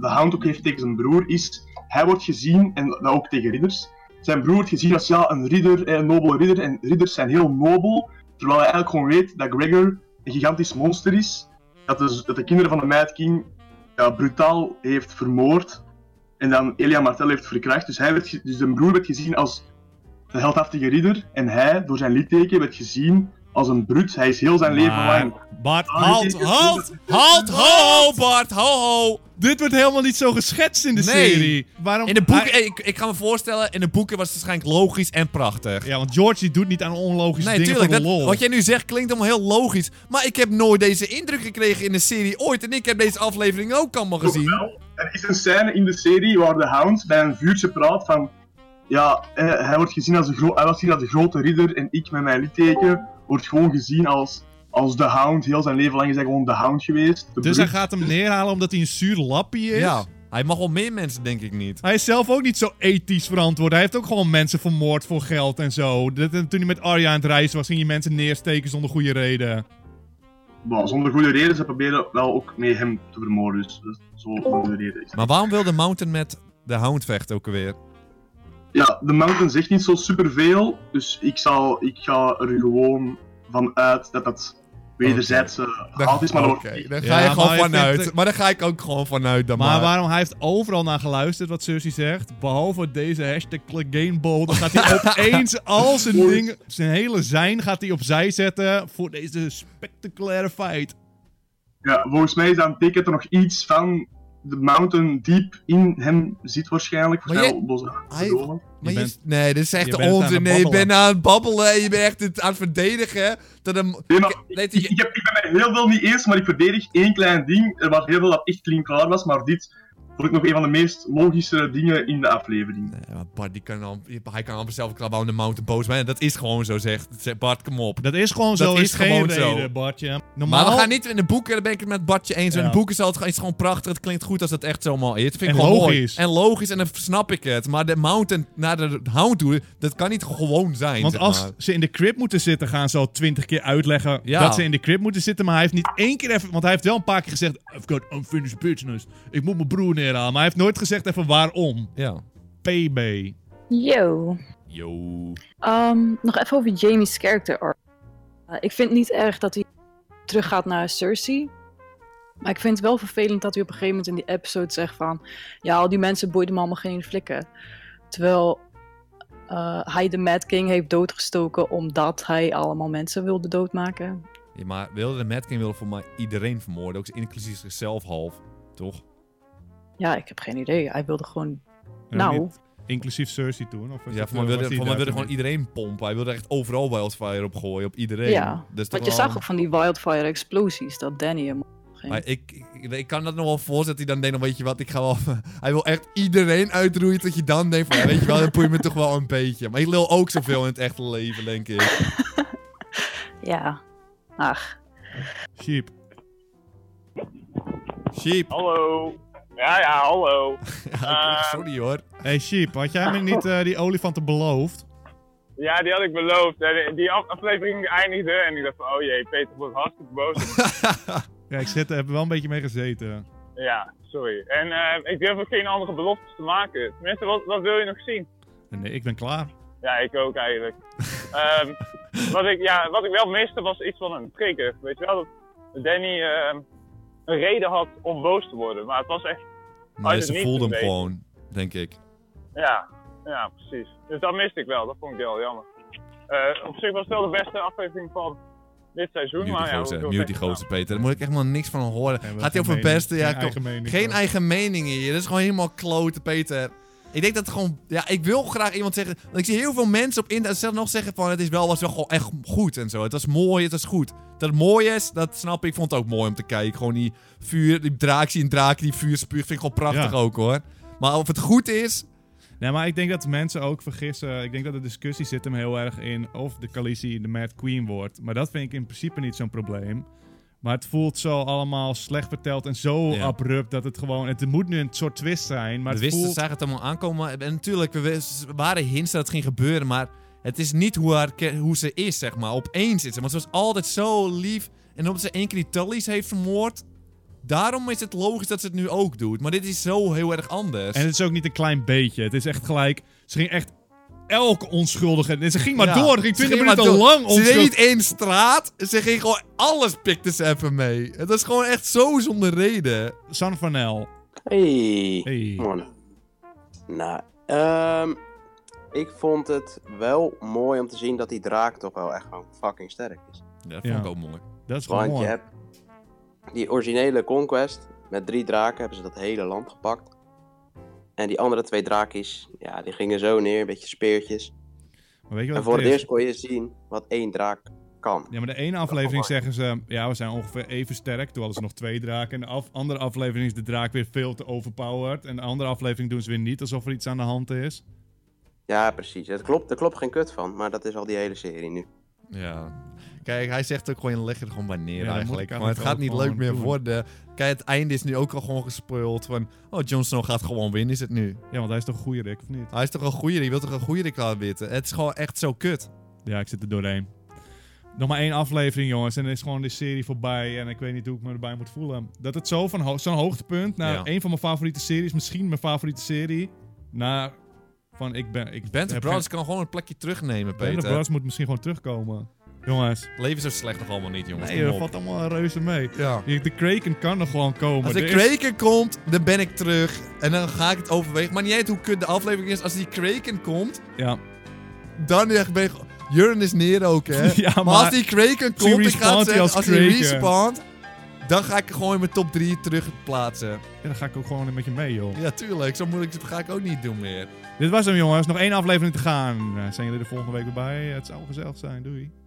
Speaker 3: de Hound ook heeft tegen zijn broer is, hij wordt gezien, en dat ook tegen ridders, zijn broer wordt gezien als ja, een ridder, eh, een nobele ridder, en ridders zijn heel nobel, terwijl hij eigenlijk gewoon weet dat Gregor een gigantisch monster is, dat de, dat de kinderen van de Mad King ja, brutaal heeft vermoord, en dan Elia Martel heeft verkracht, dus, hij werd, ge- dus zijn broer werd gezien als een heldhaftige ridder, en hij, door zijn liedteken, werd gezien als een bruut, hij is heel zijn leven
Speaker 1: Maar-
Speaker 3: lang...
Speaker 1: Bart,
Speaker 3: Ah,
Speaker 1: halt,
Speaker 3: dit is-
Speaker 1: halt!
Speaker 2: Halt, ho, ho, Bart, ho, ho.
Speaker 1: Dit wordt helemaal niet zo geschetst in de
Speaker 2: Nee.
Speaker 1: serie. Waarom?
Speaker 2: In de boeken,
Speaker 1: Hij-
Speaker 2: ik, ik ga me voorstellen, in de boeken was het waarschijnlijk logisch en prachtig.
Speaker 1: ja, want George die doet niet aan onlogische
Speaker 2: Nee,
Speaker 1: dingen
Speaker 2: tuurlijk.
Speaker 1: voor de
Speaker 2: Dat,
Speaker 1: lol.
Speaker 2: wat jij nu zegt klinkt allemaal heel logisch. Maar ik heb nooit deze indruk gekregen in de serie ooit. En ik heb deze aflevering ook allemaal gezien.
Speaker 3: Wel, Er is een scène in de serie waar de Hound bij een vuurtje praat van... Ja, eh, hij wordt gezien als de, gro- hij wordt gezien als de grote ridder en ik met mijn liedteken wordt gewoon gezien als, als de Hound. Heel zijn leven lang is hij gewoon de Hound geweest. de
Speaker 1: Dus hij
Speaker 3: brute.
Speaker 1: gaat hem neerhalen omdat hij een zuur lappie is.
Speaker 2: Ja, hij mag wel meer mensen, denk ik niet.
Speaker 1: Hij is zelf ook niet zo ethisch verantwoord. Hij heeft ook gewoon mensen vermoord voor geld en zo. Dat, en toen hij met Arya aan het reizen was, ging hij mensen neersteken zonder goede reden.
Speaker 3: Maar zonder goede reden, ze proberen wel ook mee hem te vermoorden. Dus dat is zo goede reden. is dat.
Speaker 2: Maar waarom wilde Mountain met de Hound vechten ook alweer?
Speaker 3: Ja, de Mountain zegt niet zo superveel, dus ik, zal, ik ga er gewoon van uit dat dat wederzijdse
Speaker 1: Ah,
Speaker 3: haat is. Maar dat wordt-
Speaker 2: Oké, daar
Speaker 1: Ja, nou,
Speaker 2: ga
Speaker 1: maar
Speaker 2: je gewoon
Speaker 1: ik
Speaker 2: vanuit.
Speaker 1: vind-
Speaker 2: Maar daar ga ik ook gewoon vanuit dan
Speaker 1: Maar
Speaker 2: maar.
Speaker 1: waarom? Hij heeft overal naar geluisterd wat Cersei zegt. Behalve deze hashtag Cleganebowl. Dan gaat hij opeens al zijn dingen, zijn hele zijn gaat hij opzij zetten voor deze spectaculaire fight.
Speaker 3: Ja, volgens mij is dat een teken dat er nog iets van de mountain diep in hem zit waarschijnlijk.
Speaker 2: Maar
Speaker 3: Volgens mij wel boze
Speaker 2: hij-
Speaker 3: dromen.
Speaker 2: Maar
Speaker 1: Je
Speaker 2: je-
Speaker 1: bent-
Speaker 2: nee, dit is echt
Speaker 1: je bent aan
Speaker 2: onzin.
Speaker 1: het
Speaker 2: Nee, je
Speaker 1: babbelen.
Speaker 2: bent aan het babbelen en je bent echt het aan het verdedigen. Dat hem...
Speaker 3: Nee, maar
Speaker 2: Nee,
Speaker 3: ik,
Speaker 2: die-
Speaker 3: ik, heb, ik ben het heel veel niet eens, maar ik verdedig één klein ding. Er was heel veel dat echt clean klaar was, maar dit vond ik nog een van de meest logische dingen in de aflevering.
Speaker 2: Nee, maar Bart, die kan al, hij kan amper zelf klappen aan de mountain boos zijn. Dat is gewoon zo, zegt Bart, kom op.
Speaker 1: Dat is gewoon
Speaker 2: Dat
Speaker 1: zo.
Speaker 2: is
Speaker 1: is geen
Speaker 2: gewoon zo.
Speaker 1: reden, Bartje. Normaal.
Speaker 2: Maar we gaan niet in de boeken, daar ben ik het met Bartje eens. In
Speaker 1: Ja.
Speaker 2: de boeken zal het, is het gewoon prachtig, het klinkt goed als dat echt zo allemaal is. Dat vind ik
Speaker 1: En
Speaker 2: gewoon mooi.
Speaker 1: logisch.
Speaker 2: En logisch, en dan snap ik het. Maar de mountain naar de hound toe, dat kan niet gewoon zijn,
Speaker 1: Want
Speaker 2: zeg
Speaker 1: als
Speaker 2: maar.
Speaker 1: ze in de crib moeten zitten, gaan ze al twintig keer uitleggen
Speaker 2: Ja.
Speaker 1: dat ze in de crib moeten zitten. Maar hij heeft niet één keer even. Want hij heeft wel een paar keer gezegd: I've got unfinished business. Ik moet mijn broer neerhalen. Maar hij heeft nooit gezegd even waarom.
Speaker 2: Ja.
Speaker 1: PB.
Speaker 4: Yo.
Speaker 2: Yo.
Speaker 4: Ehm, nog even over Jamie's character arc. Eh, ik vind niet erg dat hij teruggaat naar Cersei. Maar ik vind het wel vervelend dat hij op een gegeven moment in die episode zegt van... Ja, al die mensen boeiden me allemaal geen flikken. Terwijl eh, hij de Mad King heeft doodgestoken omdat hij allemaal mensen wilde doodmaken.
Speaker 2: Ja, maar wilde de Mad King wilde voor mij iedereen vermoorden, ook inclusief zichzelf half, toch?
Speaker 4: Ja, ik heb geen idee. Hij wilde gewoon...
Speaker 1: Ja,
Speaker 4: nou,
Speaker 1: niet Inclusief Cersei toen? Of was
Speaker 2: Ja,
Speaker 1: dat,
Speaker 2: voor mij
Speaker 1: eh,
Speaker 2: wilde,
Speaker 1: was die
Speaker 2: voor mij wilde
Speaker 1: daar
Speaker 2: gewoon iedereen pompen. Hij wilde echt overal wildfire op gooien, op iedereen. Dus
Speaker 4: ja.
Speaker 2: Dat is
Speaker 4: Want je
Speaker 2: toch wel-
Speaker 4: zag ook van die wildfire-explosies dat Danny hem... ging.
Speaker 2: Maar ik, ik, ik kan dat nog wel voorzetten. Die dan denkt, weet je wat, ik ga wel... Hij wil echt iedereen uitroeien tot je dan denkt van... ja, weet je wel, dat boeit me toch wel een beetje. Maar ik lul ook zoveel in het echte leven, denk ik.
Speaker 4: Ja. Ach.
Speaker 1: toen? Sheep.
Speaker 2: Sheep.
Speaker 5: Hallo. Ja, ja, hallo.
Speaker 2: Ja, ik-
Speaker 5: Ehm,
Speaker 2: sorry
Speaker 5: oh,
Speaker 2: hoor.
Speaker 1: Hey Sheep, had jij me niet eh, die olifanten beloofd?
Speaker 5: Ja, die had ik beloofd. En eh, Die af- aflevering eindigde en ik dacht van, oh jee, Peter wordt hartstikke boos.
Speaker 1: Ja, ik zit, heb er wel een beetje mee gezeten.
Speaker 5: ja, sorry. En eh, ik durf ook geen andere beloftes te maken. Tenminste, wat, wat wil je nog zien?
Speaker 1: Nee, ik ben klaar.
Speaker 5: Ja, ik ook eigenlijk. Ehm, wat, ik, ja, wat ik wel miste was iets van een trigger. Weet je wel, dat Danny ehm, een reden had om boos te worden. Maar het was echt,
Speaker 2: Nee,
Speaker 5: het
Speaker 2: ze
Speaker 5: niet
Speaker 2: voelde hem
Speaker 5: weet.
Speaker 2: gewoon, denk ik.
Speaker 5: ja, ja precies. Dus dat miste ik wel, dat vond ik wel jammer. Eh, op zich was het wel de beste aflevering van dit seizoen.
Speaker 2: Nu
Speaker 5: maar
Speaker 2: die
Speaker 5: ja,
Speaker 2: gozer,
Speaker 5: hoeveel
Speaker 2: nu die
Speaker 5: zeggen we
Speaker 2: gozer, Peter. Daar moet ik echt helemaal niks van horen.
Speaker 1: Geen
Speaker 2: Gaat hij over het
Speaker 1: mening,
Speaker 2: beste? Ja,
Speaker 1: geen
Speaker 2: klopt.
Speaker 1: eigen mening, eh.
Speaker 2: Geen
Speaker 1: toch?
Speaker 2: eigen mening hier. Dat is gewoon helemaal klote, Peter. Ik denk dat het gewoon... Ja, ik wil graag iemand zeggen... Want ik zie heel veel mensen op internet zelf nog zeggen van... Het is wel, was wel gewoon echt goed en zo. Het was mooi, het was goed. Dat het mooi is, dat snap ik. Ik vond het ook mooi om te kijken. Gewoon die vuur... Die draak, ik zie een draak die vuur spuugt. Vind ik gewoon prachtig
Speaker 1: Ja.
Speaker 2: ook, hoor. Maar of het goed is...
Speaker 1: Nee, maar ik denk dat mensen ook vergissen. Ik denk dat de discussie zit hem heel erg in of de Khaleesi de Mad Queen wordt. Maar dat vind ik in principe niet zo'n probleem. Maar het voelt zo allemaal slecht verteld en zo
Speaker 2: Ja.
Speaker 1: abrupt dat het gewoon... Het moet nu een soort twist zijn, maar
Speaker 2: we
Speaker 1: het
Speaker 2: wisten,
Speaker 1: voelt...
Speaker 2: zagen het allemaal aankomen. En natuurlijk, we wist- waren hints dat het ging gebeuren, maar het is niet hoe, haar, ke- hoe ze is, zeg maar. Opeens is ze. Want ze was altijd zo lief. En omdat ze één keer die Tullys heeft vermoord, daarom is het logisch dat ze het nu ook doet. Maar dit is zo heel erg anders.
Speaker 1: En het is ook niet een klein beetje. Het is echt gelijk... Ze ging echt elke onschuldige... en Ze ging maar
Speaker 2: Ja,
Speaker 1: door. Ze ging
Speaker 2: ze
Speaker 1: 20
Speaker 2: ging maar
Speaker 1: minuten
Speaker 2: door.
Speaker 1: lang
Speaker 2: Ze deed
Speaker 1: onschuldig.
Speaker 2: niet één straat, ze ging gewoon... Alles pikte ze even mee. Het was gewoon echt zo zonder reden.
Speaker 1: San Vanel.
Speaker 6: Hey.
Speaker 1: Hey.
Speaker 6: Man. Nou, ehm, ik vond het wel mooi om te zien dat die draak toch wel echt gewoon fucking sterk is.
Speaker 2: Ja, dat vond
Speaker 1: Ja.
Speaker 2: ik ook mooi.
Speaker 1: Dat is gewoon
Speaker 6: Want je
Speaker 1: mooi.
Speaker 6: hebt die originele Conquest, met drie draken hebben ze dat hele land gepakt. En die andere twee draakjes, ja, die gingen zo neer, een beetje speertjes.
Speaker 1: Maar weet je
Speaker 6: En
Speaker 1: wat
Speaker 6: voor
Speaker 1: het
Speaker 6: het
Speaker 1: is?
Speaker 6: eerst kon je zien wat één draak kan.
Speaker 1: Ja, maar de ene aflevering
Speaker 6: Oh,
Speaker 1: zeggen ze, ja, we zijn ongeveer even sterk. Toen hadden ze nog twee draken. En de af- andere aflevering is de draak weer veel te overpowered. En de andere aflevering doen ze weer niet alsof er iets aan de hand is.
Speaker 6: Ja, precies. Dat klopt, daar klopt geen kut van, maar dat is al die hele serie nu.
Speaker 2: Ja. Kijk, hij zegt ook gewoon, leg het gewoon bij neer
Speaker 1: Ja, dat moet
Speaker 2: eigenlijk.
Speaker 1: ik
Speaker 2: Maar het gaat niet
Speaker 1: eigenlijk
Speaker 2: leuk
Speaker 1: ook
Speaker 2: meer
Speaker 1: gewoon
Speaker 2: worden. Kijk, het einde is nu ook al gewoon gespeeld van... Oh, Jon Snow gaat gewoon winnen, is het nu.
Speaker 1: Ja, want hij is toch een goede Rick, of niet?
Speaker 2: Hij is toch een goeie, die wil toch een goeie reclame witten. Het is gewoon echt zo kut.
Speaker 1: Ja, ik zit er doorheen. Nog maar één aflevering, jongens. En dan is gewoon de serie voorbij. En ik weet niet hoe ik me erbij moet voelen. Dat het zo van ho- zo'n hoogtepunt naar
Speaker 2: Ja.
Speaker 1: een van mijn favoriete series, misschien mijn favoriete serie, naar van ik ben... Ik
Speaker 2: Band of
Speaker 1: heb
Speaker 2: Brothers
Speaker 1: geen-
Speaker 2: kan gewoon een plekje terugnemen,
Speaker 1: Band of
Speaker 2: Peter.
Speaker 1: Brothers moet misschien gewoon terugkomen. Jongens,
Speaker 2: Het leven is zo slecht nog allemaal niet, jongens.
Speaker 1: nee,
Speaker 2: Kom
Speaker 1: dat
Speaker 2: op.
Speaker 1: valt allemaal reuze mee.
Speaker 2: Ja.
Speaker 1: De Kraken kan er gewoon komen.
Speaker 2: Als de
Speaker 1: Er is-
Speaker 2: Kraken komt, dan ben ik terug. En dan ga ik het overwegen. Maar niet uit hoe kut de aflevering is. Als die Kraken komt,
Speaker 1: Ja.
Speaker 2: dan echt ben ik... Jurren is neer ook, hè.
Speaker 1: Ja,
Speaker 2: maar,
Speaker 1: maar
Speaker 2: als die Kraken
Speaker 1: die
Speaker 2: komt, ik ga het
Speaker 1: respawnt hij
Speaker 2: zeggen,
Speaker 1: als
Speaker 2: als die
Speaker 1: Kraken.
Speaker 2: respawnt, dan ga ik gewoon in mijn top 3 terug plaatsen.
Speaker 1: Ja, dan ga ik ook gewoon met je mee, joh.
Speaker 2: Ja, tuurlijk. Zo moeilijk ga ik ook niet doen meer.
Speaker 1: Dit was hem, jongens. Nog één aflevering te gaan. Eh, Zijn jullie er volgende week weer bij? Het zou gezellig zijn. Doei.